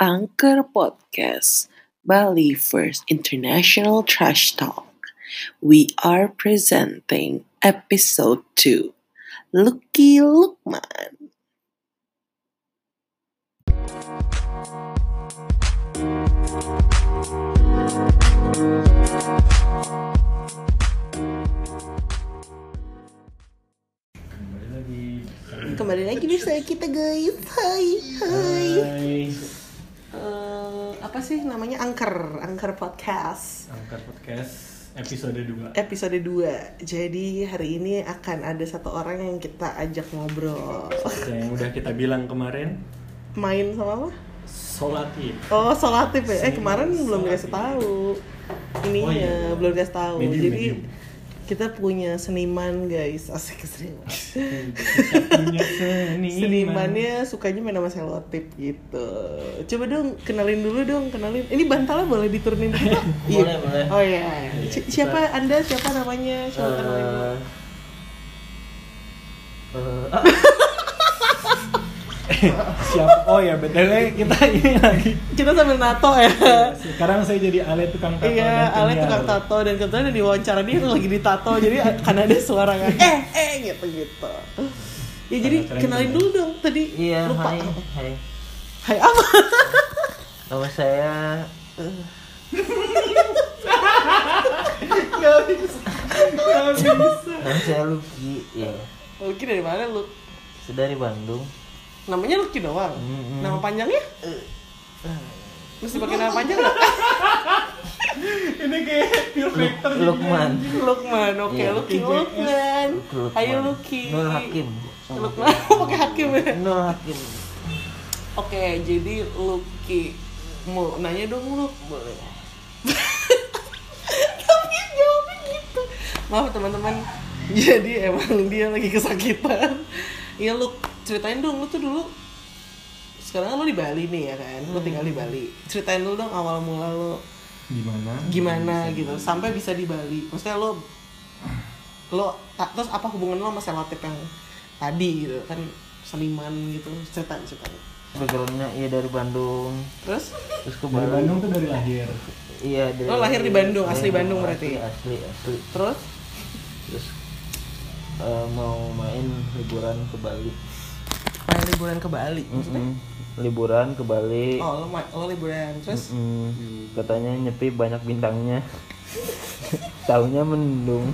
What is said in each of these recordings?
Angker Podcast Bali First International Trash Talk. We are presenting episode 2. Lucky Lukman. Kembali lagi. Kembali lagi bersama kita guys. Hai, hai. Hai. Eh, apa sih namanya Angker, Angker Podcast. Angkat podcast episode 2. Episode 2. Jadi hari ini akan ada satu orang yang kita ajak ngobrol. Yang udah kita bilang kemarin Main sama apa? solatif. Oh, solatif ya. Eh, kemarin Solatif. belum dikasih tahu. Oh, Ininya iya. belum dikasih tahu. Medium, Jadi medium. kita punya seniman, guys. Asik seniman. Kita punya seniman. Senimannya sukanya main sama selotip gitu. Coba dong kenalin dulu dong, kenalin. Ini bantalnya boleh diturunin dulu? Boleh, boleh. Oh iya. Iya, Si- kita- Siapa Anda? Siapa namanya? Siapa kenalin dulu? Eh, eh, ah, Siap. Oh ya, BTW kita ini lagi. Kita sambil nato ya. Sekarang saya jadi Ale tukang tato Iya, dan Ale penyiar. tukang tato dan kebetulan di diwawancara dia lagi ditato jadi karena ada suara yang eh eh gitu gitu. Ya jadi Keren, keren, kenalin keren. dulu dong tadi Iya, lupa. hai, hai. Hai apa? Nama saya Gak bisa. Gak bisa. nama saya Lucky, ya. Lucky dari mana lu? Saya dari Bandung. Namanya Lucky doang. Mm-mm. Nama panjangnya? Mesti pakai nama panjang nggak? Ini kayak pure Luk- factor. Lukman. Lukman, oke Iya, Lucky Lucky Lukman. Lukman. Ayo Lucky. Nul Hakim. Lukman pakai hakim ya. Nul Hakim. Oke, jadi Lucky mau nanya dong lu boleh. Tapi jawabnya gitu. Maaf teman-teman. Jadi emang dia lagi kesakitan. Iya lu ceritain dong lu tuh dulu sekarang kan lu di Bali nih ya kan, lu tinggal di Bali. Ceritain dulu dong awal mula lu Gimana? gimana gitu sampai bisa di Bali. Maksudnya lu lu ta- terus apa hubungan lu sama selotip yang tadi gitu kan seniman gitu ceritain ceritain. Backgroundnya iya dari Bandung. Terus Terus ke Dari Bali. Bandung tuh dari lahir. Iya, dari Lo Oh, lahir di Bandung, asli Iya, Bandung berarti? ya? Asli, asli. Terus? Terus eh, mau main liburan ke Bali. Pengen liburan ke Bali Mm-hmm. maksudnya? Mm-mm. Liburan ke Bali. Oh, lo, ma- lo liburan. Terus Hmm, katanya nyepi banyak bintangnya. Taunya mendung.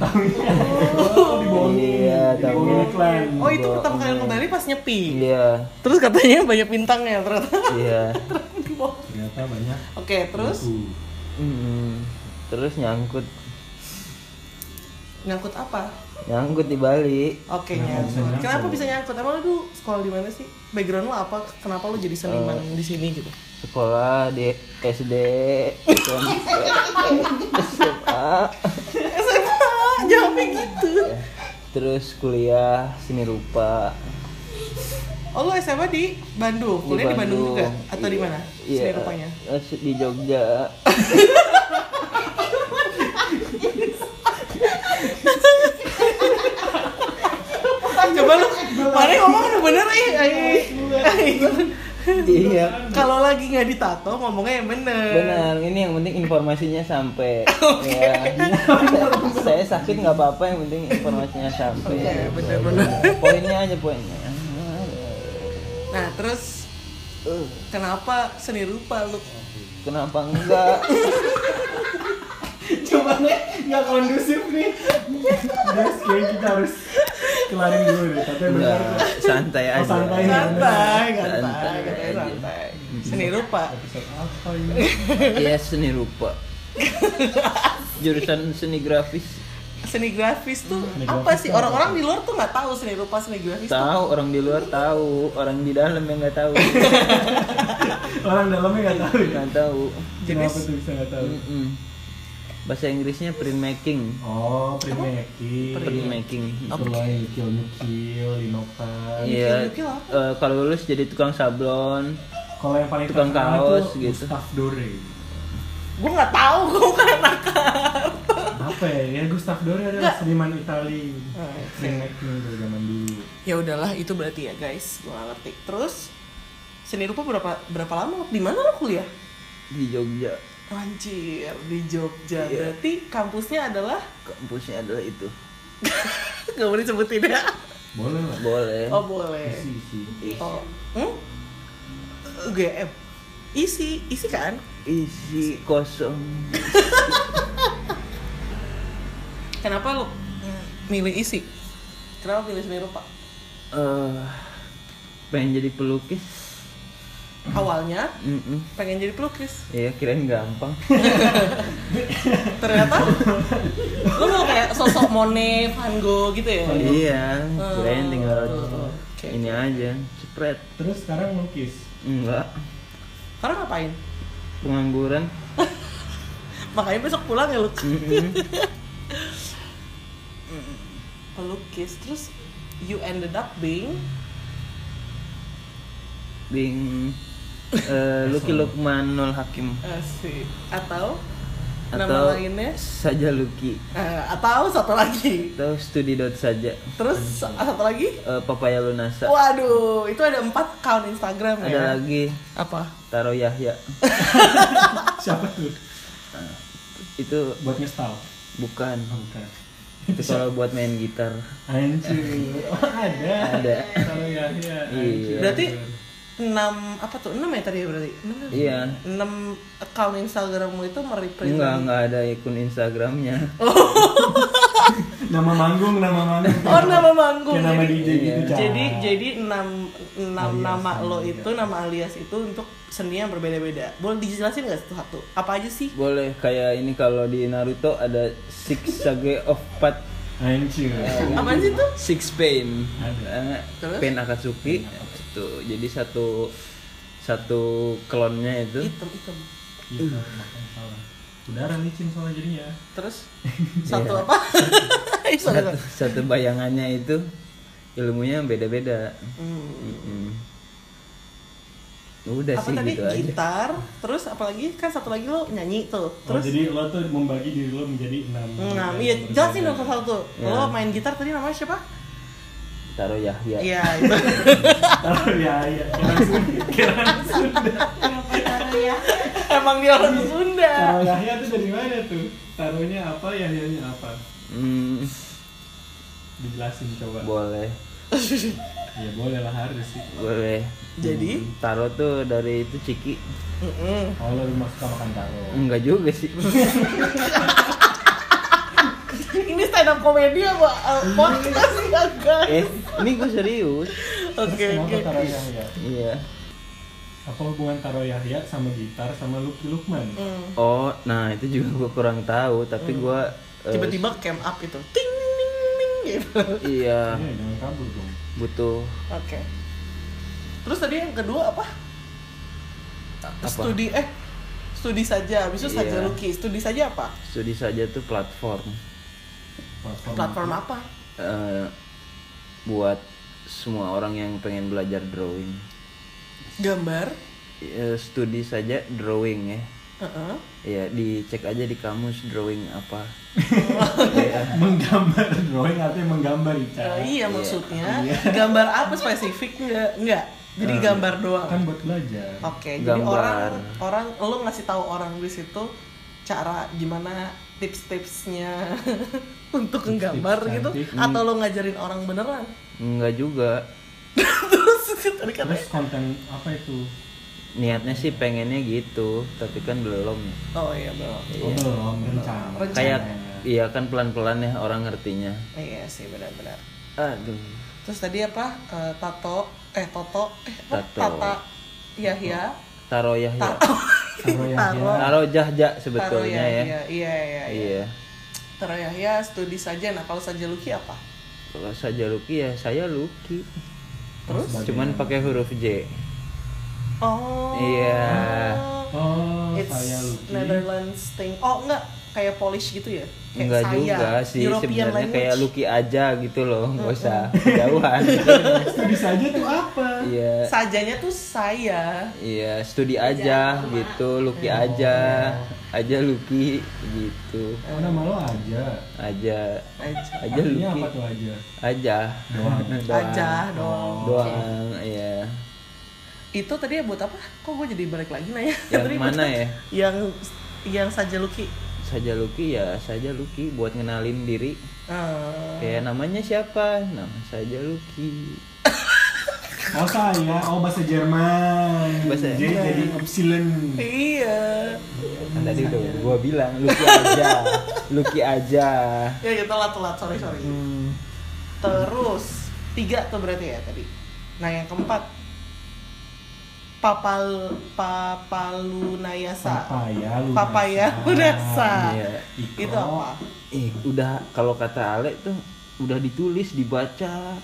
Iya, Ini taunya. iklan. Oh, itu pertama kali lo ke Bali pas nyepi. Iya, Terus katanya banyak bintangnya ternyata. iya. Di bawah. Ternyata banyak. Oke, terus Uh, Mm, Terus nyangkut, nyangkut apa? nyangkut di Bali. Oke, Kenapa nyangkut. bisa nyangkut? Kenapa bisa nyangkut? Emang lo dulu sekolah di mana sih? Background lo apa? Kenapa lo jadi seniman di sini gitu? Sekolah di gitu SD, SMP, SMA, SMA, jawabnya gitu. terus kuliah seni rupa. Oh, lo SMA di Bandung. Kuliah di Bandung juga atau di Iya, mana? Iya. Sini rupanya. Eh, Di Jogja. Ah, Coba lu, mana yang ngomong udah bener eh. eh. iya. Kalau lagi nggak ditato ngomongnya yang bener. Benar, ini yang penting informasinya sampai. Ya. Saya sakit nggak apa-apa, yang penting informasinya sampai. Iya, bener-bener. Poinnya aja poinnya. Nah terus kenapa seni rupa lu? Kenapa enggak? Coba nih, nggak kondusif nih. Guys, kayak kita harus kelarin dulu deh. Tapi Enggak, benar. Nah, santai Oh, aja. santai. Santai, santai, Iya, Santai katanya aja. santai. Seni rupa. Episode apa ini? Iya, seni rupa. Jurusan seni grafis. Seni grafis tuh Seni apa grafis sih? tuh Orang-orang di luar tuh nggak tahu seni rupa, seni grafis. tuh. Tahu orang di luar tahu, orang di dalam yang nggak tahu. Orang dalamnya nggak tahu ya. Nggak tahu. Kenapa tuh bisa nggak tahu? Mm-mm. Bahasa Inggrisnya printmaking. Oh, primeki. Printmaking. Mulai kill nukil, linoka. Iya. Nukil-nukil apa? eh, kalau lulus jadi tukang sablon. Kalau yang paling Tukang terkenal kaos tuh gitu. Gustaf Dore. Gue nggak tahu, gue bukan anak. Apa ya? Ya Gustaf Dore adalah seniman Itali. Ah, Oh, iya. Primeki dari zaman dulu. Ya udahlah, itu berarti ya guys, gue nggak ngerti. Terus seni rupa berapa berapa lama? Di mana lo kuliah? di Jogja Anjir, di Jogja. Iya. Berarti kampusnya adalah kampusnya adalah itu nggak boleh sebutin ya? Boleh lah. boleh Oh boleh. Isi isi. Oh, hmm? UGM. Isi, isi kan? isi kosong Kenapa lo milih isi? Hmm. Kenapa pilih seni rupa? eh pengen jadi pelukis Awalnya Mm-mm. pengen jadi pelukis. Iya kirain gampang Ternyata lo mau kayak sosok Monet, Van Gogh gitu ya? Iya Oh. kirain tinggal Oke. ini aja Cepret Terus sekarang lukis. Enggak Karena ngapain? Pengangguran Makanya besok pulang ya lu. Mm-mm. Hmm. Pelukis. Terus you ended up being Bing eh, Luki Lukmanul Hakim eh, si atau, Atau nama lainnya Saja Luki eh, atau satu lagi. Atau studi dot saja Terus satu lagi. Eh, Papaya Lunasa Waduh, itu ada empat account Instagram ya. Ada lagi Apa? Taro Yahya Siapa tuh? Itu Buat ngestal. bukan Oh, Bukan. Itu kalau buat main gitar Anjir. Oh, ada. Ada Kalau ya, ya. Iya. Berarti enam apa tuh enam ya tadi ya berarti enam ya? Iya enam account Instagrammu itu merepresent Enggak, enggak ada akun Instagramnya Nama manggung, nama manggung. oh nama manggung Kayak nama jadi- DJ Iya. gitu. Cak. jadi jadi enam enam nama lo itu nama alias itu untuk seni yang berbeda-beda boleh dijelasin nggak satu satu apa aja sih Boleh, kayak ini kalau di Naruto ada Six Sage of Path Anjir. apa sih tuh Six Pain Eh, Terus? Pain Akatsuki itu jadi satu satu klonnya itu hitam hitam Gitu, makan salah. Udara licin soalnya jadinya. terus satu Iya. apa Eh, sorry, satu, sorry. satu bayangannya itu ilmunya beda-beda Hmm. Mm-mm. udah apa sih tadi gitu aja gitar terus apalagi kan satu lagi lo nyanyi tuh Oh, terus jadi lo tuh membagi diri lo menjadi enam. Nah, iya jelasin dong satu satu. Lo Oh, main gitar tadi namanya siapa? Taro Yahya Iya, itu. Taruh ya, ya. Langsung. Iya, Emang dia orang Sunda. Taruh Yahya tuh dari mana tuh? Taruhnya apa, Yahyanya apa? Hmm, Dijelasin coba. boleh ya boleh lah harus sih. boleh Jadi, Taro tuh dari itu Ciki mm-mm. Kalau lo rumah suka makan taruh. enggak juga sih ini stand up komedi apa eh, podcast ya guys? eh ini gue serius Oke oke. Kenapa Taruh Yahya? iya Apa hubungan Taruh Yahya sama gitar sama Lucky Lukman? Hmm. oh nah itu juga gue kurang tahu tapi gue eh, Tiba-tiba cam up itu, ting ting ting gitu. Oke. iya Iya, jangan kabur dong. butuh Terus tadi yang kedua apa? Apa? Studi eh studi saja, habis itu saja Iya. lukis. Studi saja apa? studi saja tuh platform Platform. Platform apa? eh, buat semua orang yang pengen belajar drawing Gambar. Eh, studi saja drawing ya Heeh. ya dicek aja di kamus drawing apa Menggambar drawing artinya menggambar Ica. Eh, iya maksudnya gambar apa spesifik enggak enggak jadi gambar doang Kan buat belajar. oke jadi Gambar. orang orang lo ngasih tahu orang di situ cara gimana tips-tipsnya untuk menggambar gitu cantik. Hmm. atau lo ngajarin orang beneran enggak juga terus tadi kan Terus konten apa itu? niatnya sih pengennya gitu tapi kan belum ya. oh iya belum Oh, belum rencana. kayak Nah. iya kan pelan-pelan ya orang ngertinya iya sih benar-benar aduh terus tadi apa Eh, tato eh toto eh apa? Tato. Iya, tata Iya, Yahya Taro Yahya Taruh Yahya. Taro Jahja Taro ya. sebetulnya ya Yahya iya iya iya iya Taro Yahya studi saja nah kalau saja Luki apa kalau saja Luki ya saya Luki terus cuman pakai huruf J Oh. Iya. Oh, It's saya Lucky. Netherlands thing. Oh, enggak kayak Polish gitu ya? Kayak Enggak saya. juga sih European sebenarnya language. kayak Luki aja gitu loh nggak usah jauhan Studi saja tuh apa? iya Sajanya tuh saya. iya studi aja gitu Luki Oh. aja aja Luki gitu Oh, Iya. nama lo aja. aja Aja. aja Artinya Luki apa tuh aja? aja Doang. Oh. Aja dong. doang iya itu tadi ya buat apa? Kok gue jadi balik lagi nanya? Yang Tadi mana buat- ya? Yang yang saja Luki. saja Luki ya saja Luki buat ngenalin diri Eh, kayak namanya siapa nama saja Luki Oh saya, oh bahasa Jerman. Bahasa jadi jadi Epsilon. iya. kan tadi udah gua bilang Luki aja Luki aja Ya kita telat telat sorry sorry. Hmm, Terus tiga tuh berarti ya tadi. Nah yang keempat papal papalunayasa. Papaya, lunasa. Papaya lunasa. Iya. Iko. Itu apa? eh udah kalau kata Ale tuh udah ditulis dibaca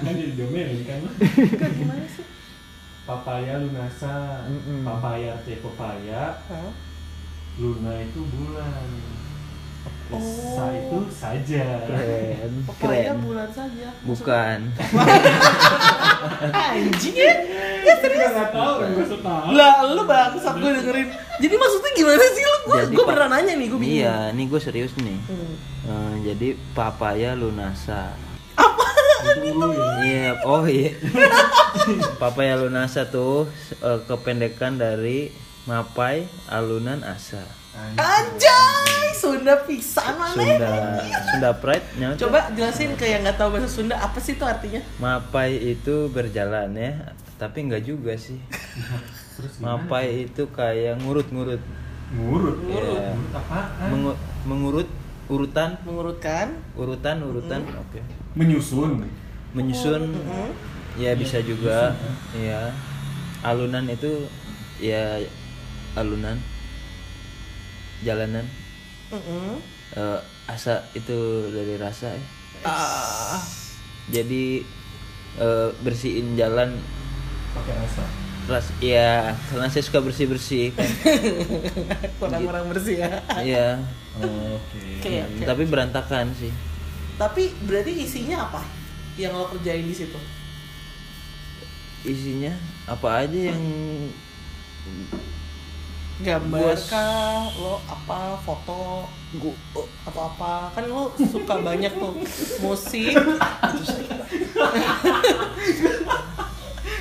Kan jadi domain kan. Enggak gimana sih? Papaya lunasa. Mm-mm. Papaya teh pepaya. Hah? Luna itu bulan. Oh. Sa itu saja. keren Papaya keren bulan saja. bukan Anjing ya? Ya serius. Gak tau, gak setahun. Lah lu bangsat gue dengerin. Jadi maksudnya gimana sih lu? Gue Jadi gue pa- pernah nanya nih gue bingung. iya ini gue serius nih Hmm. Eh, jadi papaya lunasa Itu ya. Iya, oh iya. Papaya Lunasa tuh eh, kependekan dari Mapai Alunan Asa. Nah, Anjay, Sunda pisan mana? Sunda Sunda Pride nya tuh. Coba jelasin ke yang nggak tahu bahasa Sunda apa sih itu artinya? Mapai itu berjalan ya, tapi nggak juga sih. Terus gimana? Mapai itu kayak ngurut-ngurut, Ngurut. Ngurut. Ngurut apaan? Mengu- mengurut urutan, Mengurutkan. urutan, urutan. Oke. Menyusun. Menyusun ya bisa juga. Iya. Alunan itu ya alunan jalanan Mm-mm. Eh, asa itu dari rasa ya. Ah. jadi eh, bersihin jalan Pakai rasa. ras ya karena saya suka bersih bersih Iya. kurang-kurang bersih ya. ya Oke. Oke, oke. tapi berantakan sih Tapi berarti isinya apa? Yang lo kerjain di situ? isinya apa aja yang Gambar Gua- kah? Lo apa? Foto? gua atau apa kan lo suka banyak tuh musik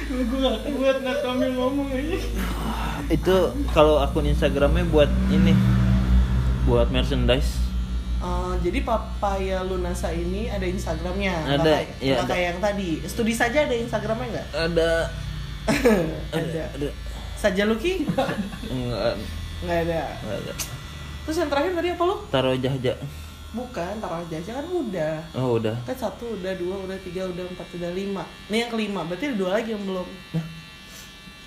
Gue gak kuat Nat Kamil ngomong eh. aja. itu kalau akun instagramnya buat ini buat merchandise Eh, jadi papaya lunasa ini ada instagramnya Nggak Ada, kayak- iya, nggak ada. kayak yang tadi studi saja ada instagramnya nggak ada ada ada saja luki enggak nggak ada enggak ada terus yang terakhir tadi apa lo taruh jahja bukan taruh aja kan udah oh udah kan satu udah dua udah tiga udah empat udah lima ini yang kelima berarti ada dua lagi yang belum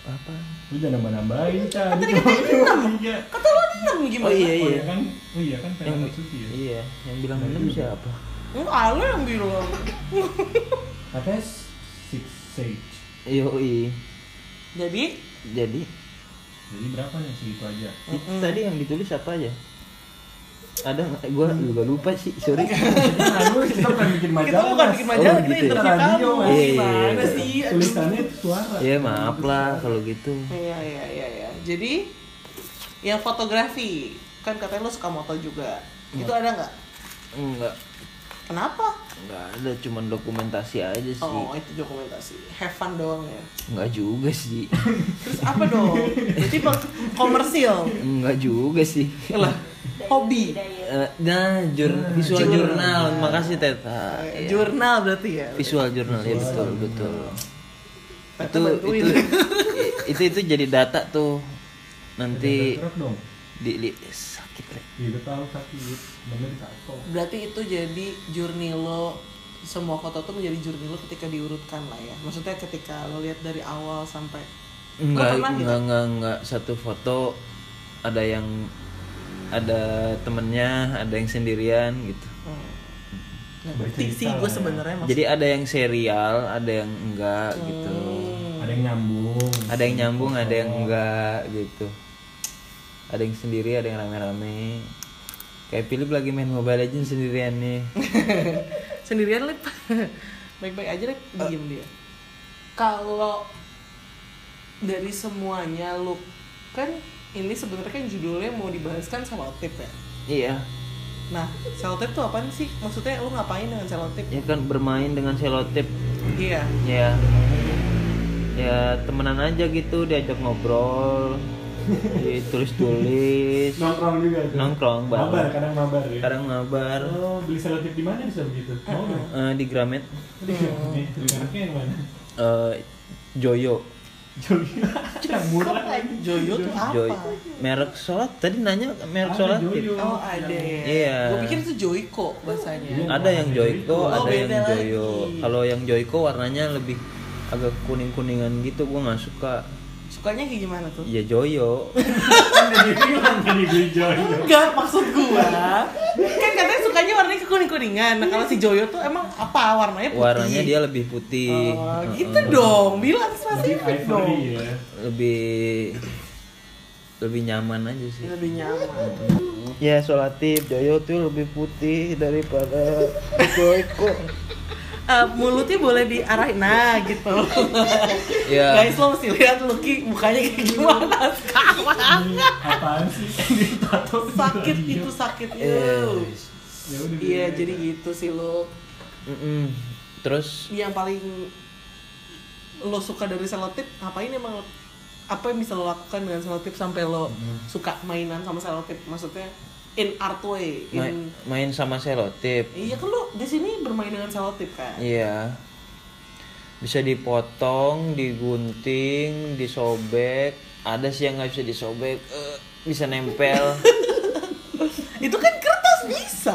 apa Lu jangan nambah-nambahin, Chan. Kan Tadi Iya. kata lo ada enam gimana oh iya Oh, iya iya kan? Oh iya kan pengen Katsuki ya. Iya, yang bilang minum siapa? Enggak, lo yang bilang Katanya six sage. Yoi. jadi Jadi Jadi berapa nih segitu aja? tadi yang ditulis apa aja? Ada nggak? Gua juga lupa sih, sorry. Nah, lu kita bukan bikin kita bukan bikin majalah Oh, kita gitu ya. interview Radio, kamu Mas. Iya, iya, iya. gimana sih Aduh. Tulisannya suara. ya maaf lah kalau gitu. Iya iya iya iya. Jadi yang fotografi kan katanya lo suka moto juga. Iya. Itu ada nggak? Enggak, Kenapa? enggak ada cuman dokumentasi aja sih. Oh itu dokumentasi. Have fun doang ya. Enggak juga sih. Terus apa dong? Jadi peng- komersil. Enggak juga sih. Lah hobi. Eh, Nah, jur- visual jurnal. Makasih Teta. Eh, Iya. Jurnal berarti ya. Visual jurnal ya betul betul. Teta Itu bantuin. itu itu itu jadi data tuh nanti Terus dong. di, li- sakit Le. Iya, udah tahu sakit. Bener kakak. Berarti itu jadi journey lo semua foto tuh menjadi journey lo ketika diurutkan lah ya. Maksudnya ketika lo lihat dari awal sampai Enggak, pernah gitu? enggak, enggak, enggak. Satu foto ada yang ada temennya, ada yang sendirian gitu. hmm. Nggak ngerti sih gue sebenarnya maksudnya. Jadi ada yang serial, ada yang enggak gitu. Ada yang nyambung. Ada yang nyambung, ada yang enggak gitu. Ada yang sendiri, ada yang rame-rame. Kayak Philip lagi main Mobile Legends sendirian nih. sendirian lip baik-baik aja lip diem dia Eh, kalau dari semuanya lu kan ini sebenarnya kan judulnya mau dibahaskan sama Otip kan ya iya. Nah, selotip tuh apaan sih? Maksudnya lu ngapain dengan selotip? ya kan bermain dengan selotip Iya. ya ya temenan aja gitu diajak ngobrol tulis tulis Nongkrong juga tuh. Nongkrong, bareng. Mabar, kadang mabar ya. sekarang ngabar Oh, beli selotip di mana bisa begitu? Mau nggak? eh, di Gramet Di di anaknya yang mana? eh, Joyo Jogi. Yang murah. Joyo tuh apa? Joy merek sholat tadi nanya Ada merek gitu. sholat Joyo. Oh, ada. ya? Iya. Gua pikir itu Joyko bahasanya. Iya. ada yang Joyko Oh, ada yang beda lagi. Joyo kalau yang Joyko warnanya lebih agak kuning kuningan gitu gua nggak suka Sukanya kayak gimana tuh? ya Joyo Kan udah dibilang tadi beli Joyo. Enggak, maksud gua. kan katanya sukanya warnanya kekuning-kuningan. Nah, kalau si Joyo tuh emang apa warnanya putih? warnanya dia lebih putih Oh, Heeh. gitu dong. Bilang Jadi spesifik dong. Ivory ya. lebih lebih nyaman aja sih Lebih nyaman. Ya solatif Joyo tuh lebih putih daripada Joyko. Eh, mulutnya boleh diarahin nah gitu. Iya. Guys lo mesti lihat Lucky mukanya kayak gimana sekarang. Apaan sih? Ditato di sakit Joyo. itu sakit Iya. ew. Ya udah. Iya biarin jadi aja. gitu sih lo. Mm-mm. Terus Yang paling lo suka dari selotip ngapain emang lo- apa yang bisa lo lakukan dengan selotip sampai lo Hmm. suka mainan sama selotip maksudnya in art way ma- in main sama selotip. iya kan lo di sini bermain dengan selotip kan Iya. Bisa dipotong, digunting, disobek. Ada sih yang nggak bisa disobek. Eh, bisa nempel. itu kan kertas bisa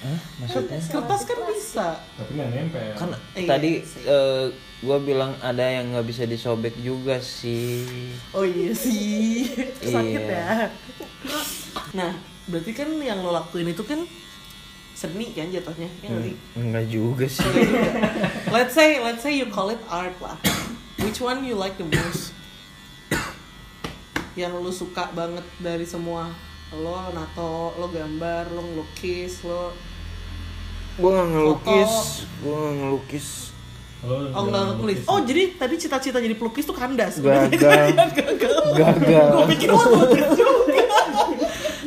Hah? Maksudnya? kertas kan bisa Tapi nggak nempel. Kan Iya tadi sih. eh, gua bilang ada yang nggak bisa disobek juga sih. Oh iya sih, sakit Iya. ya. Nah, berarti kan yang lo lakuin itu kan seni kan jatuhnya, ya nggak sih? Enggak juga sih. Nggak juga. let's say, let's say you call it art lah. Which one you like the most? Yang lo suka banget dari semua lo nato, lo gambar, lo ngelukis, lo gue nggak ngelukis Foto. gue nggak ngelukis oh nggak ngelukis. Oh jadi tadi cita-cita jadi pelukis tuh kandas. Gagal. Gagal. gagal Gue pikir lo pelukis juga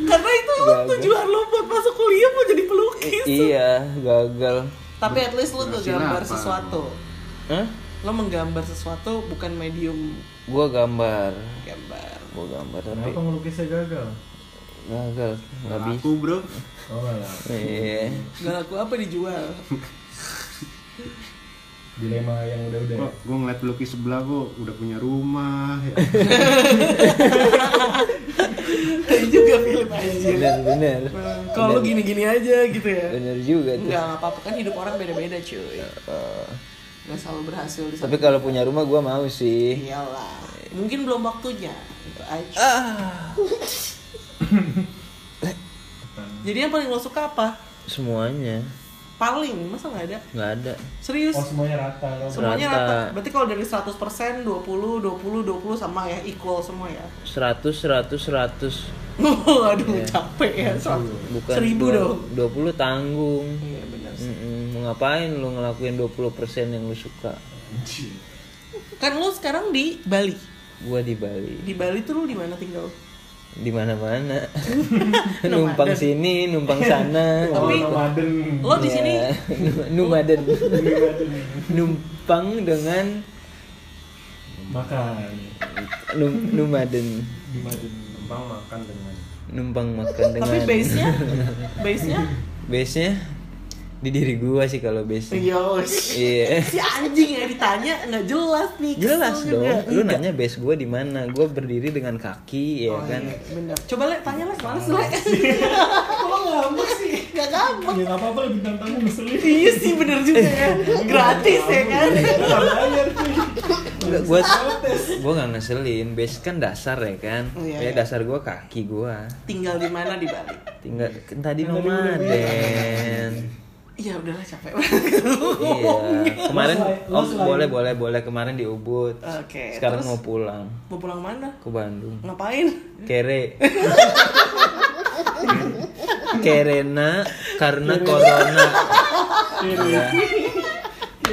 Karena itu lo Gagal. tujuan lo buat masuk kuliah mau jadi pelukis Iya, I- iya gagal Tapi at least lo menggambar sesuatu Hah? Lo menggambar sesuatu bukan medium gue gambar gambar gue gambar tapi Kenapa ngelukisnya gagal? gagal nggak bisa Aku bro, Oh malah. iya Gak laku apa dijual Dilema yang udah-udah. ya? Wah, gua ngeliat pelukis sebelah gua udah punya rumah. Ya. Tapi juga Philip anjir bener bener Kalau lo gini-gini aja gitu ya bener juga tuh Enggak, gak apa-apa kan hidup orang beda-beda cuy Gak selalu berhasil di Iya, eh. tapi satu kalau punya rumah gue mau sih Iyalah Mungkin belum waktunya Gitu aja. Ah. Jadi yang paling lo suka apa? semuanya Paling, masa gak ada? nggak ada Serius? Oh semuanya rata lo. Semuanya Rata. rata. Berarti kalau dari 100% 20, 20, 20 sama ya equal semua ya. 100 100 100 Aduh capek ya. Iya. bukan Seribu dua- dong. 20 tanggung Iya benar. Mm-mm. Mau ngapain lu ngelakuin 20% yang lu suka Anjir. Kan lu sekarang di Bali. gue di Bali Di Bali tuh lu di mana tinggal? di mana mana numpang sini numpang sana Oh, Iya. Tapi- nomaden. Lo di Ya, sini nu- numaden Nomaden. numpang dengan Makan. num- numaden Di Maden. Numpang makan dengan numpang makan dengan tapi base-nya base-nya base nya di diri gua sih kalau base nya Iya. iya Si anjing ya ditanya nggak jelas nih. kesel jelas dong juga. lu nanya base gua di mana gua berdiri dengan kaki Oh, ya kan iya, bener. Coba le, tanya le, males le. Kok ngambek sih? Gak ngambek. Ya nggak apa-apa lebih tantang ngeselin. Iya sih bener juga ya. Gratis ya kan. Nggak bayar cuy. Nggak, gua gua nggak ngeselin base kan dasar ya kan Oh, iya, ya iya. dasar gua kaki gua Tinggal di mana di Bali? tinggal kan tadi Kan tadi udah nomaden Iya udahlah capek banget. Iya. Kemarin Lo selain- lo oh, selain- boleh boleh boleh kemarin di Ubud. Oke, Sekarang terus? mau pulang Mau pulang mana? ke Bandung. Ngapain? Kere. Kerena karena corona.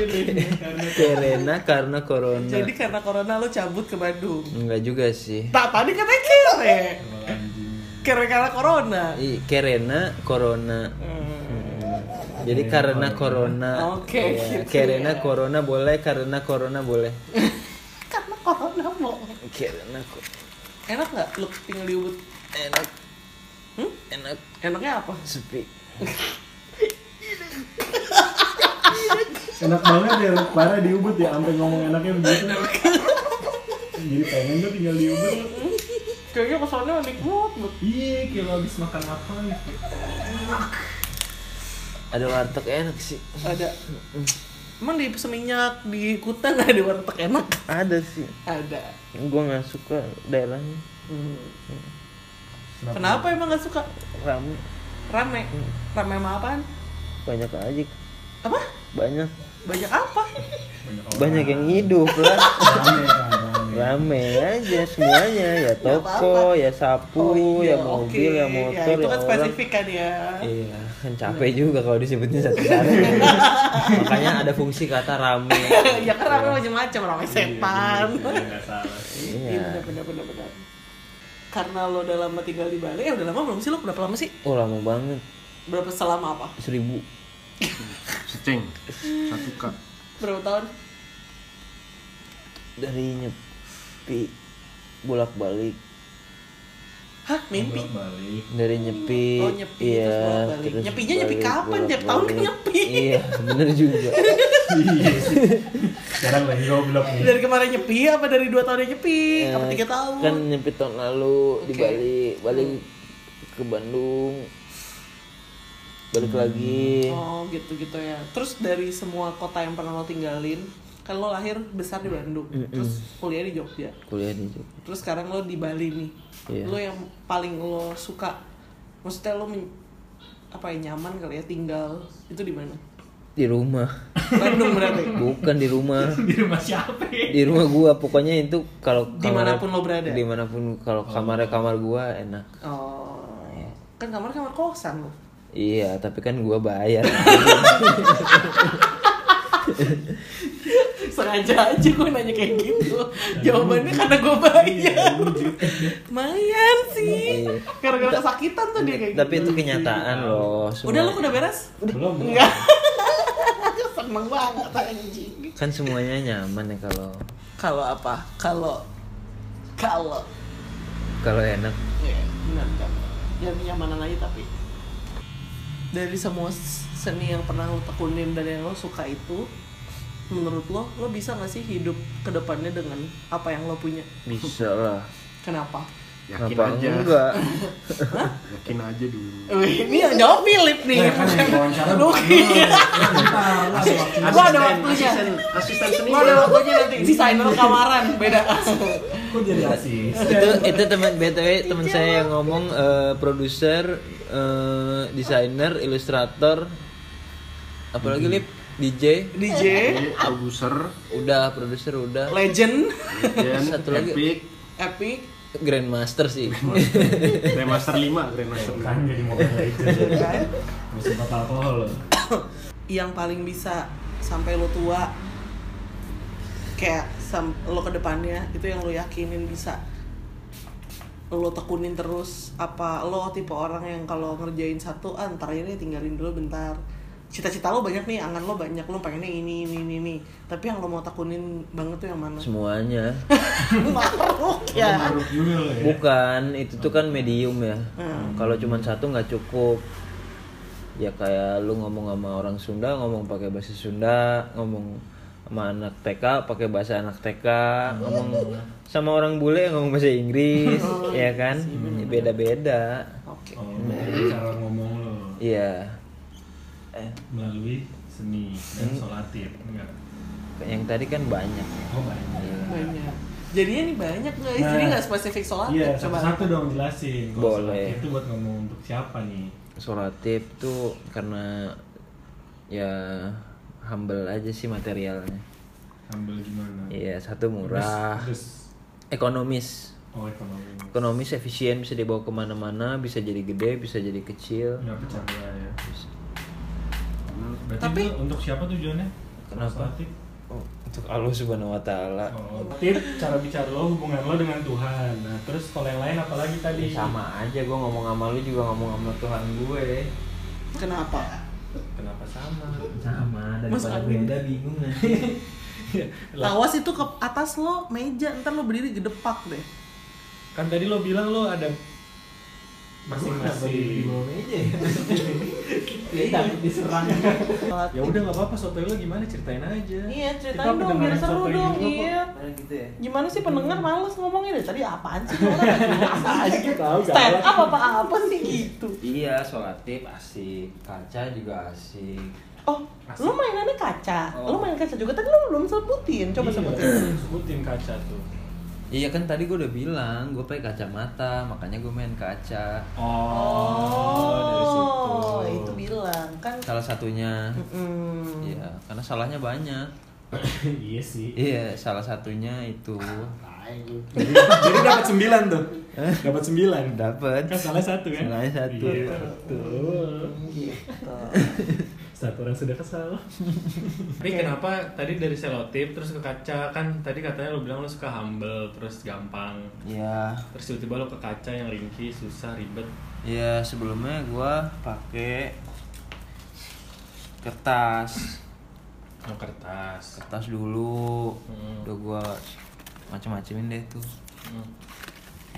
Kerena karena corona. Jadi karena corona lo cabut ke Bandung. Enggak juga sih. Tak tadi katanya kere. Anjing. karena karena corona I, karena corona. Hmm. Jadi karena corona. Oke, Iya, gitu Karena ya. corona boleh, karena corona boleh. karena corona mau karena ko- enak nggak lu tinggal di Ubud enak, hmm? enak enaknya apa sepi. Enak banget ya, lu. parah di Ubud ya, sampai ngomong enaknya begitu. Jadi pengen tuh tinggal di Ubud. lu. kayaknya kesannya nikmat banget Iya, kayak lu habis makan apa gitu. Ada warteg enak sih. ada emang di seminyak di Kuta nggak ada warteg enak Ada sih. ada Gue nggak suka daerahnya kenapa emang nggak suka ramai, rame rame sama apaan banyak aja, apa banyak, banyak apa banyak yang hidup lah. Rame kan, rame. rame aja semuanya ya toko ya sapu Oh, iya, ya mobil oke. ya ya, motor itu ya, kan orang spesifik kan ya iya kan capek juga kalau disebutnya satu satu makanya ada fungsi kata rame ya kan rame macam-macam rame setan Iya, nggak salah sih. iya iya benar benar benar karena lo udah lama tinggal di Bali eh udah lama belum sih lo berapa lama sih oh lama banget berapa selama apa seribu Seceng. Satu kak. berapa tahun dari nyepi bolak balik hah mimpi Balik. dari nyepi, Oh, nyepi, iya terus bolak-balik. Nyepinya nyepi kapan? Tiap tahun kan bolak-balik. nyepi. iya bener juga Iya sih. Sekarang lagi goblok nih. dari kemarin nyepi apa dari dua tahun yang nyepi apa Eh, tiga tahun kan nyepi tahun lalu Oke. di Hmm. Bali balik ke Bandung balik lagi oh gitu gitu ya terus dari semua kota yang pernah lo tinggalin kan lo lahir besar di Bandung terus kuliah di Jogja kuliah di Jogja terus sekarang lo di Bali nih Iya. lo yang paling lo suka maksudnya lo men- apa ya nyaman kali ya tinggal itu di mana di rumah Bandung berarti bukan di rumah Di rumah siapa ya? di rumah gua pokoknya itu kalau kamar- Dimanapun lo berada? dimanapun kalau kamarnya kamar gua enak oh kan kamar kamar kosan lo iya tapi kan gua bayar sengaja aja gue nanya kayak gitu jawabannya karena gue bayar lumayan sih Iya. gara-gara kesakitan tuh dia kayak tapi gitu itu kenyataan loh semua- udah lu udah beres Belum. enggak seneng banget anjing kan semuanya nyaman ya kalau kalau apa kalau kalau kalau enak ya benar kan ya kenyamanan aja tapi dari semua seni yang pernah lo tekunin dan yang lo suka itu menurut lo lo bisa nggak sih hidup kedepannya dengan apa yang lo punya bisa lah kenapa Yakin Apa aja. enggak Yakin aja dulu. Wih, ini yang jawab Philip nih. Nah, kan yang diwawancara Iya, Lu iya. Bentar, lah, waktu. Lu ada waktunya. Asisten, asisten seni. Lu ada waktunya nanti desainer kamaran beda. Kok jadi asis? itu itu teman btw teman saya yang ngomong eh, produser eh, desainer ilustrator apalagi lip DJ DJ, Produser. udah produser udah legend, Dan Satu lagi. Epic. epic, grandmaster sih Grandmaster 5. Grandmaster Kan jadi mobil itu. kan? Gak sempat iya. alkohol loh. yang paling bisa sampai lo tua kayak sam lo kedepannya itu yang lo yakinin bisa lo tekunin terus apa lo tipe orang yang kalau ngerjain satu ah, ntar ini tinggalin dulu bentar cita-cita lo banyak nih angan lo banyak lo pengennya ini ini ini, ini. tapi yang lo mau tekunin banget tuh yang mana semuanya maruk ya Maruk juga loh ya. bukan itu tuh kan medium ya kalau cuman satu nggak cukup ya kayak lu ngomong sama orang Sunda ngomong pakai bahasa Sunda ngomong sama anak TK pakai bahasa anak TK ngomong sama orang bule ngomong bahasa Inggris ya kan beda-beda oke Oh, cara ngomong lo iya eh melalui seni dan solatif. Enggak. yang tadi kan banyak Oh, banyak. banyak Iya. jadinya nih banyak guys Nah. jadi nggak spesifik sholat Iya, coba satu-satu dong jelasin. Kalau Boleh. solatif Itu buat ngomong untuk siapa nih? solatif tuh karena ya humble aja sih materialnya Ambil gimana? iya Terus- satu murah Terus, ekonomis oh ekonomi. ekonomis efisien bisa dibawa kemana-mana bisa jadi gede bisa jadi kecil Nggak pecah belah ya. lima. Berarti Tapi- itu untuk siapa tujuannya? Kenapa? Solatif. Oh, untuk Allah Subhanahu Wa Taala Oh, tip cara bicara lo hubungan lo dengan Tuhan. Nah, terus kalau yang lain apalagi tadi? Iya, sama aja gue ngomong sama lu juga ngomong sama Tuhan gue Kenapa? Kenapa sama? Sama, Mas daripada Amin. beda bingung kan. Lah, Tawas itu ke atas lo meja, ntar lo berdiri gedepak deh. kan tadi lo bilang lo ada Di masing-masing. bawah meja ya. Dia takut diserang. Ya udah nggak apa-apa sotoy lo gimana ceritain aja. Iya, Kita ceritain dong, biar pendengaran seru sotoy dong. juga kok. Hmm. Iya. Karena gitu ya. Gimana sih pendengar males ngomongnya deh tadi apaan sih? Orang nggak jelas aja. Tahu, Stand galak. up apa apa sih gitu. iya solatif asik kaca juga asik Oh, lo mainannya kaca. Oh. Lo main kaca juga tapi lo belum sebutin. Coba Iya, sebutin. Sebutin kaca tuh. Iya kan tadi gue udah bilang gue pakai kacamata makanya gue main kaca Oh, dari situ. Oh, itu bilang kan. salah satunya Mm-mm. iya karena salahnya banyak iya sih. iya salah satunya itu Jadi, jadi dapat sembilan tuh. Dapat sembilan. dapat Kan salah satu kan? Salahnya satu. Iya, betul. Satu orang sudah kesal. Tapi kenapa tadi dari selotip terus ke kaca kan tadi katanya lo bilang lo suka humble terus gampang ya terus tiba-tiba lo ke kaca yang ringkih susah ribet ya sebelumnya gue pakai kertas no Oh, kertas kertas dulu Hmm. udah gue macam-macamin deh tuh Hmm.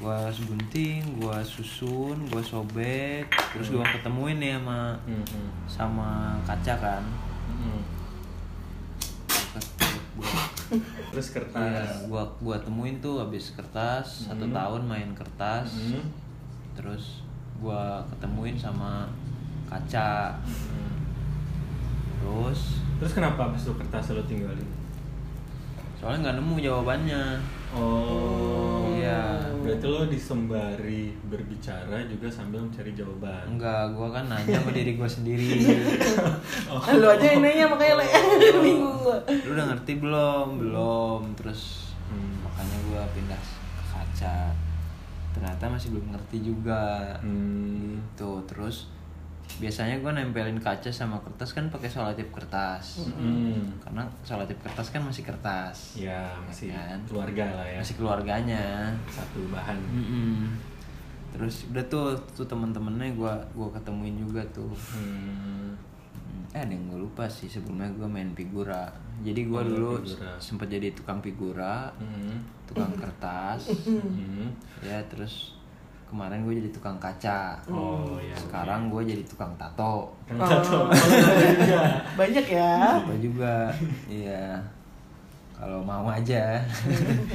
gua segunting, gua susun, gua sobek, terus gua ketemuin nih sama Hmm, hmm, sama kaca kan. hmm. Gua, terus iya, kertas gua gua temuin tuh habis kertas satu tahun main kertas, Hmm. terus gua ketemuin sama kaca, Hmm. terus terus kenapa abis lo kertas lo tinggalin soalnya nggak nemu jawabannya. oh Iya. berarti lo disembari berbicara juga sambil mencari jawaban Enggak, gua kan nanya sama diri gua sendiri. Lo aja yang nanya makanya le bingung gua. Lu udah ngerti belum? Belum. Terus Hmm. makanya gua pindah ke kaca. Ternyata masih belum ngerti juga. Hmm. Tuh, terus biasanya gua nempelin kaca sama kertas kan pakai solatip kertas. Hmm. Karena solatip kertas kan masih kertas. ya masih Kan? keluarga lah ya Masih keluarganya. satu bahan Hmm. Mm-mm. Terus udah tuh tuh temen-temennya gua gua ketemuin juga tuh. Hmm. Hmm, Eh ada yang gue lupa sih sebelumnya gue main figura. Jadi Oh, gue dulu figura. sempat jadi tukang figura, Hmm. tukang kertas, Hmm. ya terus kemarin gue jadi tukang kaca. Oh, iya. Sekarang gue jadi tukang tato. Kan satu. Banyak ya. Apa juga? Iya. Kalau mau aja.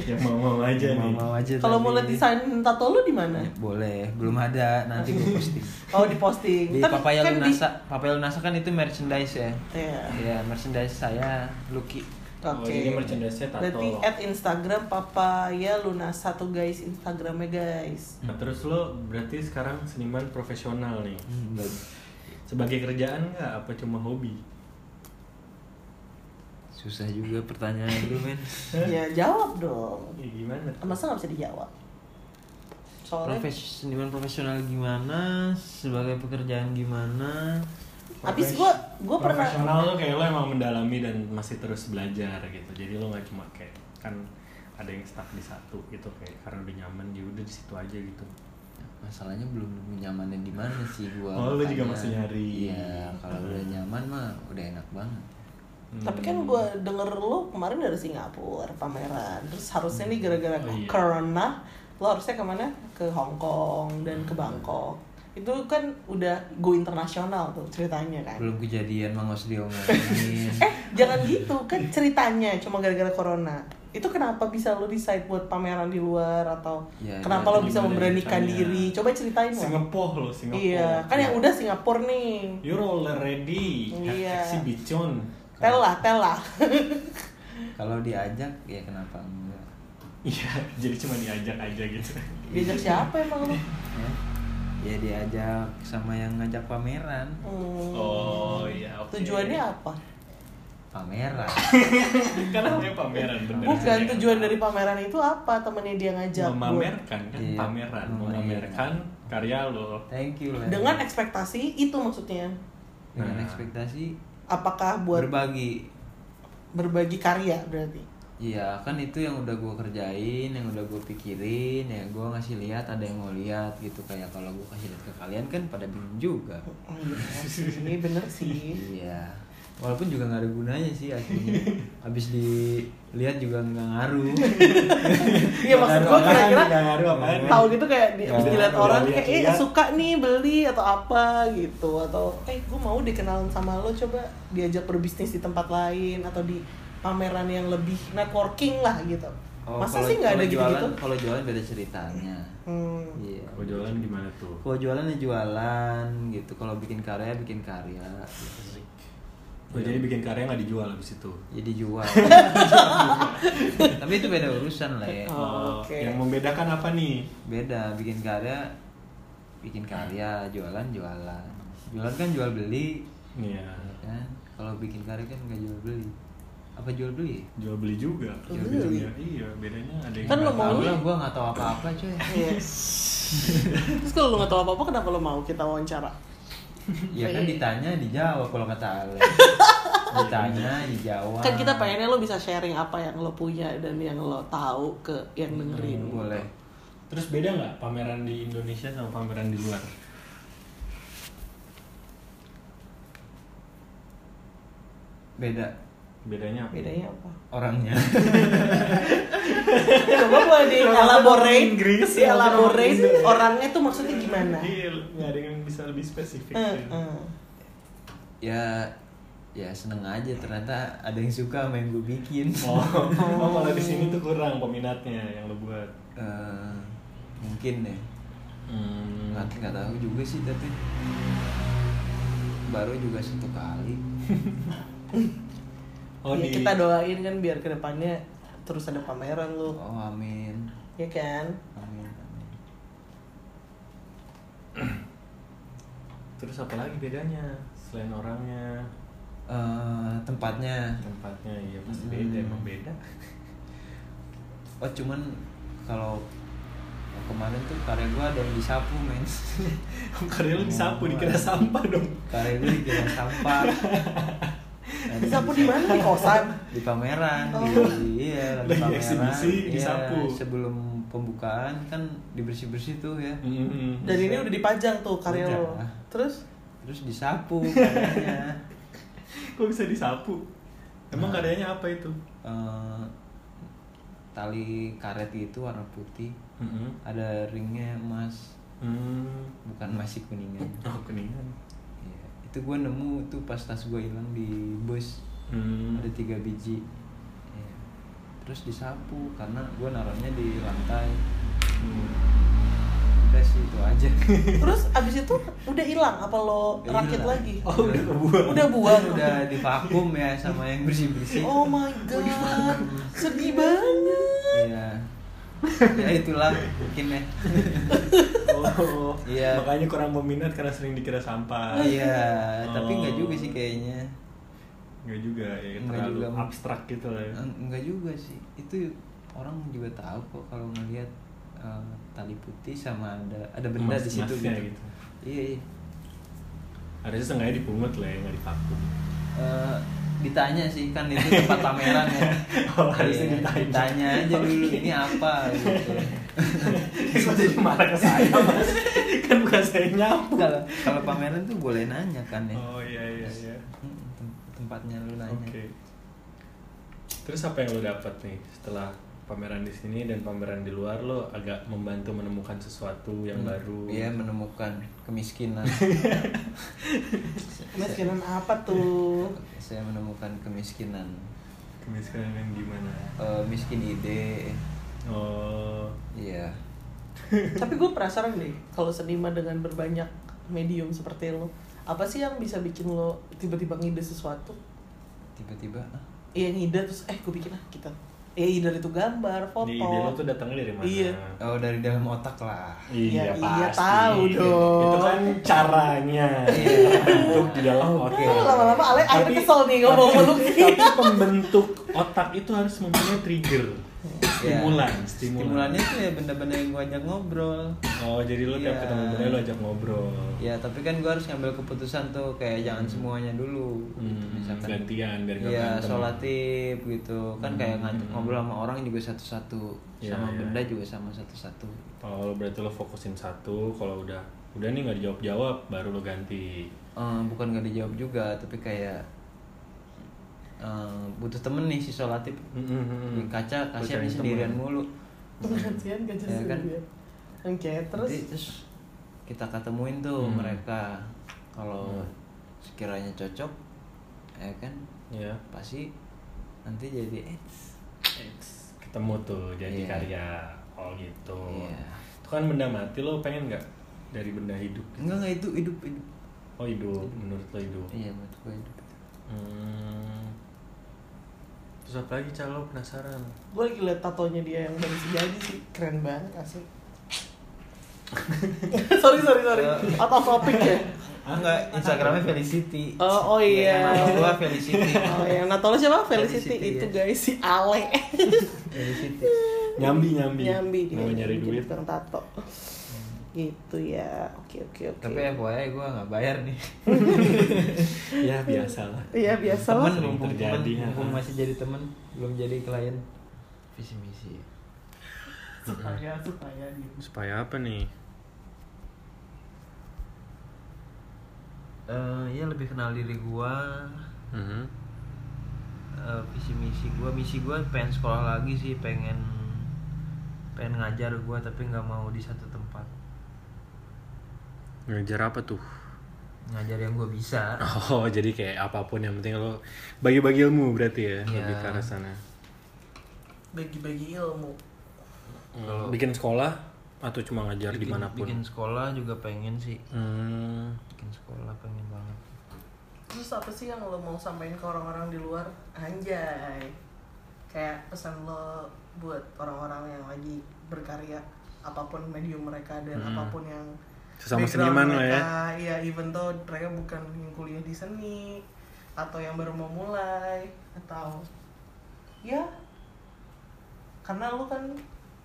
yang Ya, mau-mau aja mau nih mau aja. Kalau tadi. mau lihat desain tato lo di mana? boleh, belum ada. Nanti gue posting. Oh, di posting. Di Tapi Papaya kan di- Lunasa, Papaya Lunasa kan itu merchandise ya. Iya. Iya, merchandise saya Lucky. Oh, Oke. jadi merchandise-nya tato. Berarti at Instagram papaya lunasa tuh guys Instagramnya guys. Nah, terus lo berarti sekarang seniman profesional nih Nah, Hmm, sebagai kerjaan nggak apa cuma hobi Susah juga pertanyaan lu, men. ya jawab dong. ya gimana tuh? Masa nggak bisa dijawab? Soalnya Profes- seniman profesional gimana sebagai pekerjaan gimana abis gua gua pernah profesional tuh kayak lo emang mendalami dan masih terus belajar gitu jadi lo nggak cuma kayak kan ada yang stuck di satu gitu kayak karena udah nyaman ya udah di situ aja gitu masalahnya belum nemu nyamannya di mana sih gua Oh, lu makanya. juga masih nyari. iya kalau udah nyaman mah udah enak banget Hmm. Tapi kan gue denger lo kemarin dari Singapura pameran, terus harusnya nih gara-gara Oh, iya. corona lo harusnya kemana? Ke Hong Kong dan Hmm. ke Bangkok. Itu kan udah go internasional tuh ceritanya kan. Hmm. belum kejadian mah nggak usah diomongin Eh jangan gitu kan ceritanya cuma gara-gara corona. Itu kenapa bisa lo decide buat pameran di luar atau Ya, kenapa lo gimana- bisa gimana memberanikan ceritanya? diri? Coba ceritain lah. Singapura Kan lo Singapura Iya, kan Ya. yang udah Singapura nih. You're already Iya. exhibition. Tel lah, tel lah. kalau diajak ya kenapa enggak Iya, jadi cuma diajak aja gitu. Diajak siapa emang lo? ya ya diajak sama yang ngajak pameran Hmm. Oh iya. oke. Tujuannya apa? pameran Kan namanya pameran bener. Bukan tujuan dari pameran itu apa temennya dia ngajak memamerkan kan Iya, pameran, memamerkan. memamerkan karya lo. thank you gua. lah dengan ekspektasi itu maksudnya Dengan Nah. ekspektasi apakah buat berbagi berbagi karya berarti Iya kan itu yang udah gue kerjain, yang udah gue pikirin, ya gue ngasih lihat ada yang mau lihat gitu kayak kalau gue kasih lihat ke kalian kan pada bingung juga. Oh, iya sih, ini bener sih Iya. Walaupun juga nggak ada gunanya sih akhirnya. Habis dilihat juga nggak ngaruh. iya maksud gue kira-kira Nggak ngaruh apaan. tahu gitu kayak di, Nggak abis ada, dilihat nggak orang ada kayak eh lihat-lihat. suka nih beli atau apa gitu atau eh gue mau deh kenalan sama lo coba diajak berbisnis di tempat lain atau di pameran yang lebih networking lah gitu Oh, masa kalau- sih nggak ada kalau gitu jualan- gitu Kalau jualan beda ceritanya. hmm. Iya. Kalau jualan gimana tuh? Kalau jualan ya jualan gitu. Kalau bikin karya bikin karya. Gitu Oh, jadi bikin karya nggak dijual abis itu? Jadi jual. Tapi itu beda urusan lah ya. Oh, Eh, oke. Yang membedakan apa nih? Beda bikin karya bikin karya, jualan jualan. Jualan kan jual beli, Iya, ya kan? Kalau bikin karya kan nggak jual beli. Apa jual beli? jual beli juga. Jual Jual beli. juga. Iya, bedanya ada yang Kan lo nggak mau tahu Tahu beli. lah, gua nggak tahu apa-apa cuy. Iya. Terus kalau lu nggak tahu apa-apa kenapa lu mau kita wawancara? Ya kan ditanya dijawab kalau kata Ale. ditanya dijawab. Kan kita pengennya lu bisa sharing apa yang lo punya dan yang lo tahu ke yang dengerin. Hmm, boleh. Terus beda nggak pameran di Indonesia sama pameran di luar? Beda Bedanya apa? Bedanya apa? orangnya. Coba boleh di elaborate, Inggris, di elaborate orangnya tuh maksudnya gimana? Iya, nggak ada yang bisa lebih spesifik. Eh, kan? eh. ya ya seneng aja ternyata ada yang suka sama yang gue bikin. Oh, oh, kalau di sini tuh kurang peminatnya yang lo buat. Eh, mungkin ya. Hmm, Nggak, nggak tahu juga sih tapi baru juga satu kali. Oh, Ya, di- kita doain kan biar kedepannya terus ada pameran lu, Oh amin. ya kan? Amin. amin. Terus apa lagi bedanya selain orangnya, Eh, tempatnya tempatnya? Iya pasti beda, Hmm. emang beda. Oh cuman kalau kemarin tuh karya gue ada yang disapu men Karya lo disapu, Oh, dikira ada. sampah dong. Karya gue dikira sampah Ada Disapu di yang mana? Di kosan. Di pameran Oh. di, Iya lagi Lagi pameran eksibisi, Iya, disapu. Sebelum pembukaan kan dibersih-bersih tuh ya Hmm. Dan ini udah dipajang tuh karya lo. Udah. Terus Terus disapu karyanya Kok bisa disapu? Emang Nah. karyanya apa itu? Eh, Tali karet itu warna putih Ada ringnya emas Hmm. Bukan masih kuningan Oh, kuningan. Iya, itu gue nemu tuh pas tas gue hilang di bus Hmm. ada tiga biji Iya. terus disapu karena gue naruhnya di lantai udah sih itu aja terus abis itu udah hilang apa lo Udah rakit hilang. lagi? Oh, udah kebuang. Udah buang. udah divakum ya sama yang bersih bersih Oh my god, sedih banget. iya ya itulah mungkin ya Oh, Iya. makanya kurang peminat karena sering dikira sampah. iya tapi Oh. nggak juga sih kayaknya Enggak juga, ya Nggak terlalu juga. Hmm. abstrak gitu lah ya. Eng- nggak Eh, juga sih itu orang juga tahu kok kalau ngelihat eh, tali putih sama ada ada benda di situ Emas-emasnya gitu. gitu. iya iya Harusnya sengaja dipungut lah ya, nggak dipakum. Eh, ditanya sih kan itu tempat pameran ya Oh, harusnya Iya, ditanya. ditanya aja dulu ini apa gitu Kok jadi marah ke saya, Mas? kan bukan saya yang nyapu. kalau kalau pameran tuh boleh nanya kan ya Oh iya iya iya. Mm, tem- tempatnya lu nanya Oke. Terus apa yang lo dapat nih setelah pameran di sini dan pameran di luar lo agak membantu menemukan sesuatu yang baru. Iya menemukan kemiskinan Kemiskinan apa tuh? saya menemukan kemiskinan Kemiskinan yang gimana? Eh, miskin ide Oh. iya Tapi gue penasaran deh, kalau seniman dengan berbanyak medium seperti lo, apa sih yang bisa bikin lo tiba-tiba ngide sesuatu? tiba-tiba ah, Iya ngide terus, eh gue bikin ah kita. Ya ide itu gambar, foto. Jadi ide lo tuh datangnya dari mana? Iya. oh dari dalam otak lah Iya, Iya, iya, pasti. tahu dong. Itu kan caranya Iya. untuk di dalam otak. Aduh, lama-lama Ale akhirnya kesel nih ngomong tapi- meluk. Tapi pembentuk otak itu harus mempunyai trigger. Stimulan, stimulan. Ya. Stimulannya tuh ya benda-benda yang gue ajak ngobrol. Oh jadi lu tiap Iya. ketemu bunda lu ajak ngobrol. Ya tapi kan gue harus ngambil keputusan tuh kayak jangan semuanya dulu. gitu. Hmm, gantian, biar nggak Iya berantem. Hmm. solatif gitu kan kayak ngajak ngobrol sama orang juga satu-satu Iya, sama iya. benda juga sama satu-satu. Kalau berarti lo fokusin satu, kalau udah udah nih nggak dijawab jawab, baru lo ganti. Eh, bukan gak dijawab juga tapi kayak eh, butuh temen nih si solatif. Hmm. Di kaca kasihan nih sendirian mulu. Kasihan gajah Ya kan? sendirian. gitu Oke, terus Nanti terus kita ketemuin tuh Hmm. mereka kalau sekiranya cocok ya kan Ya, pasti nanti jadi eh ketemu tuh jadi Iya. karya. Oh gitu. Iya. Itu kan benda mati lo pengen nggak dari benda hidup? enggak enggak itu hidup hidup Oh hidup, menurut lo hidup. iya menurut gue hidup Hmm. Terus apa lagi Cal? Lo penasaran? gue lagi liat tatonya dia yang dari sejadi sih keren banget asli sorry sorry sorry out of topic ya ah enggak instagramnya Felicity Oh, oh iya. nama gue Felicity oh ya nah tolong siapa Felicity, Felicity, itu ya. guys si iya. Ale Felicity Nyambi nyambi. nyambi dia Mau nyari jadi duit. Hmm. tukang tato gitu ya oke oke oke tapi FYI gue nggak bayar nih ya biasa lah. iya biasa temen lah Sering mumpung temen terjadi, ya. mumpung masih jadi temen belum jadi klien visi misi supaya supaya gitu Supaya apa nih? Eh, ya lebih kenal diri gue Mhm. eh, visi misi gue misi gue pengen sekolah lagi sih pengen pengen ngajar gue tapi nggak mau di satu tempat Ngejar apa tuh? ngajar yang gue bisa Oh, jadi kayak apapun yang penting lo bagi-bagi ilmu berarti ya, Iya. lebih ke arah sana. bagi-bagi ilmu Hmm. Bikin sekolah atau cuma ngajar bikin, dimanapun? bikin sekolah juga pengen sih Hmm, bikin sekolah pengen banget terus apa sih yang lo mau sampaikan ke orang-orang di luar anjay kayak pesan lo buat orang-orang yang lagi berkarya apapun medium mereka dan apapun yang Hmm. Sesama background seniman lo ya. mereka, iya even though mereka bukan yang kuliah di seni atau yang baru mau mulai atau ya karena lo kan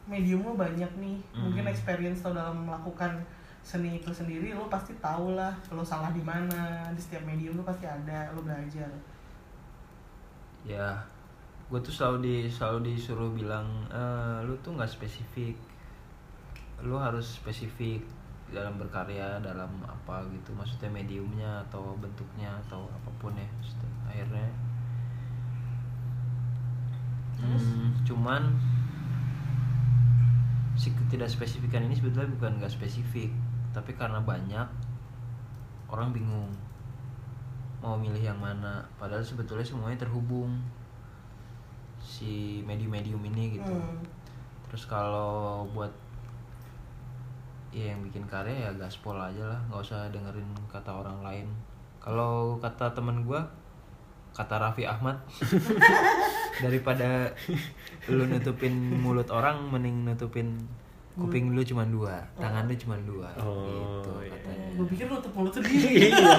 medium lo banyak nih Hmm. mungkin experience lo dalam melakukan seni itu sendiri lo pasti tau lah lo salah di mana di setiap medium lo pasti ada lo belajar ya gue tuh selalu di selalu disuruh bilang "Eh, lu tuh nggak spesifik lu harus spesifik dalam berkarya dalam apa gitu maksudnya mediumnya atau bentuknya atau apapun ya maksudnya. akhirnya Hmm, cuman si tidak spesifikan ini sebetulnya bukan nggak spesifik tapi karena banyak orang bingung mau milih yang mana padahal sebetulnya semuanya terhubung si medium-medium ini gitu Hmm. terus kalau buat ya yang bikin karya ya gaspol aja lah nggak usah dengerin kata orang lain kalau kata temen gua kata Raffi Ahmad daripada lu nutupin mulut orang mending nutupin kuping lu cuman dua tangan lu cuman dua Oh, gitu iya. katanya gue pikir lo tutup mulut sendiri Iya.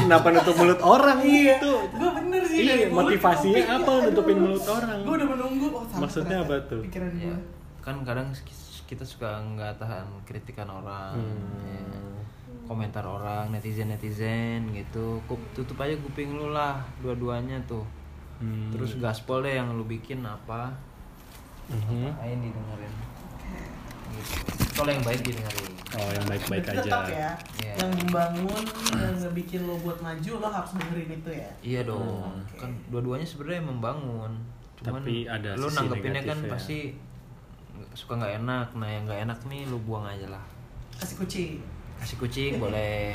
Kenapa nutup mulut orang Iya, itu? gue bener sih. Iya, dari mulut motivasinya ke kuping. apa Aduh. nutupin mulut orang? Gue udah menunggu. Oh, salah Maksudnya ternyata apa tuh? Iya. Pikiran Ya, gue. kan kadang s- kita suka nggak tahan kritikan orang ya. komentar orang netizen netizen gitu Kup- tutup aja kuping lu lah dua-duanya tuh Hmm. terus gaspol deh yang lu bikin apa Mhm. ayo didengerin gitu. kalau yang baik didengerin Oh, yang baik-baik aja. Berarti Tetap ya, Iya. yang membangun, yang ngebikin lo buat maju, lo harus dengerin itu ya. iya dong kan dua-duanya sebenarnya membangun cuman Tapi ada lu sisi nanggepinnya kan negatifnya. pasti suka nggak enak nah yang nggak enak nih lu buang aja lah Kasih kucing. kasih kucing boleh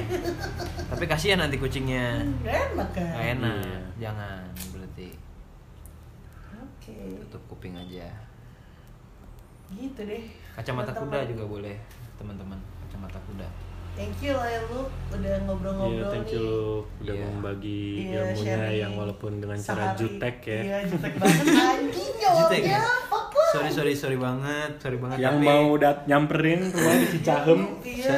tapi kasihan nanti kucingnya Gak enak kan? nggak enak Iya. jangan berarti Oke, tutup kuping aja gitu deh. kacamata kuda Teman-teman. juga boleh teman-teman kacamata kuda Thank you lah ya lu udah ngobrol-ngobrol Iya, thank you nih. lu udah Iya. membagi Iya, ilmunya sharing. yang walaupun dengan cara Sehari. jutek ya. Iya, jutek banget anjing Jutek jawabnya. ya? Fuck lah. sorry sorry sorry banget sorry banget Yang tapi mau dat nyamperin rumah di Cicahem, Iya.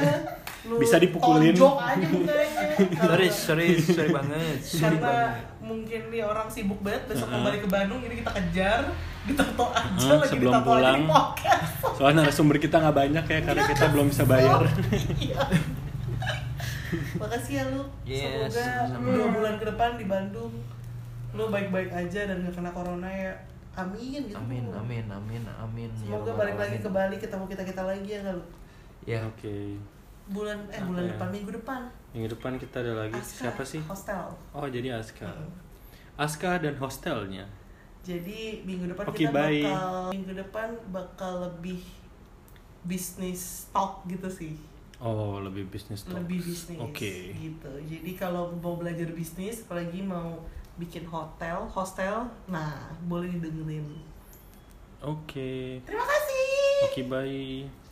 lu Bisa dipukulin. tonjok aja mukanya sorry sorry sorry banget sorry karena banget mungkin nih orang sibuk banget besok mau balik ke Bandung ini kita kejar ditato aja Heeh, lagi sebelum ditato aja di pulang. podcast Soalnya narasumber kita nggak banyak ya karena kita belum bisa bayar. Iya. makasih ya lu Yes, semoga sama-sama. dua bulan ke depan di Bandung lu baik-baik aja dan gak kena corona ya amin gitu amin amin amin amin ya semoga Rabbal balik lagi ke Alamin. Bali ketemu kita kita lagi ya kalau ya Oke. bulan eh bulan Apa ya? depan minggu depan Minggu depan kita ada lagi Aska, siapa sih? hostel Oh, jadi Aska. Aska dan hostelnya. Jadi minggu depan Oke, kita bye. bakal minggu depan bakal lebih bisnis talk gitu sih. Oh, lebih bisnis talks. Lebih bisnis Oke. gitu. Jadi kalau mau belajar bisnis apalagi mau bikin hotel, hostel, nah boleh didengerin. Oke. Terima kasih. Oke, bye.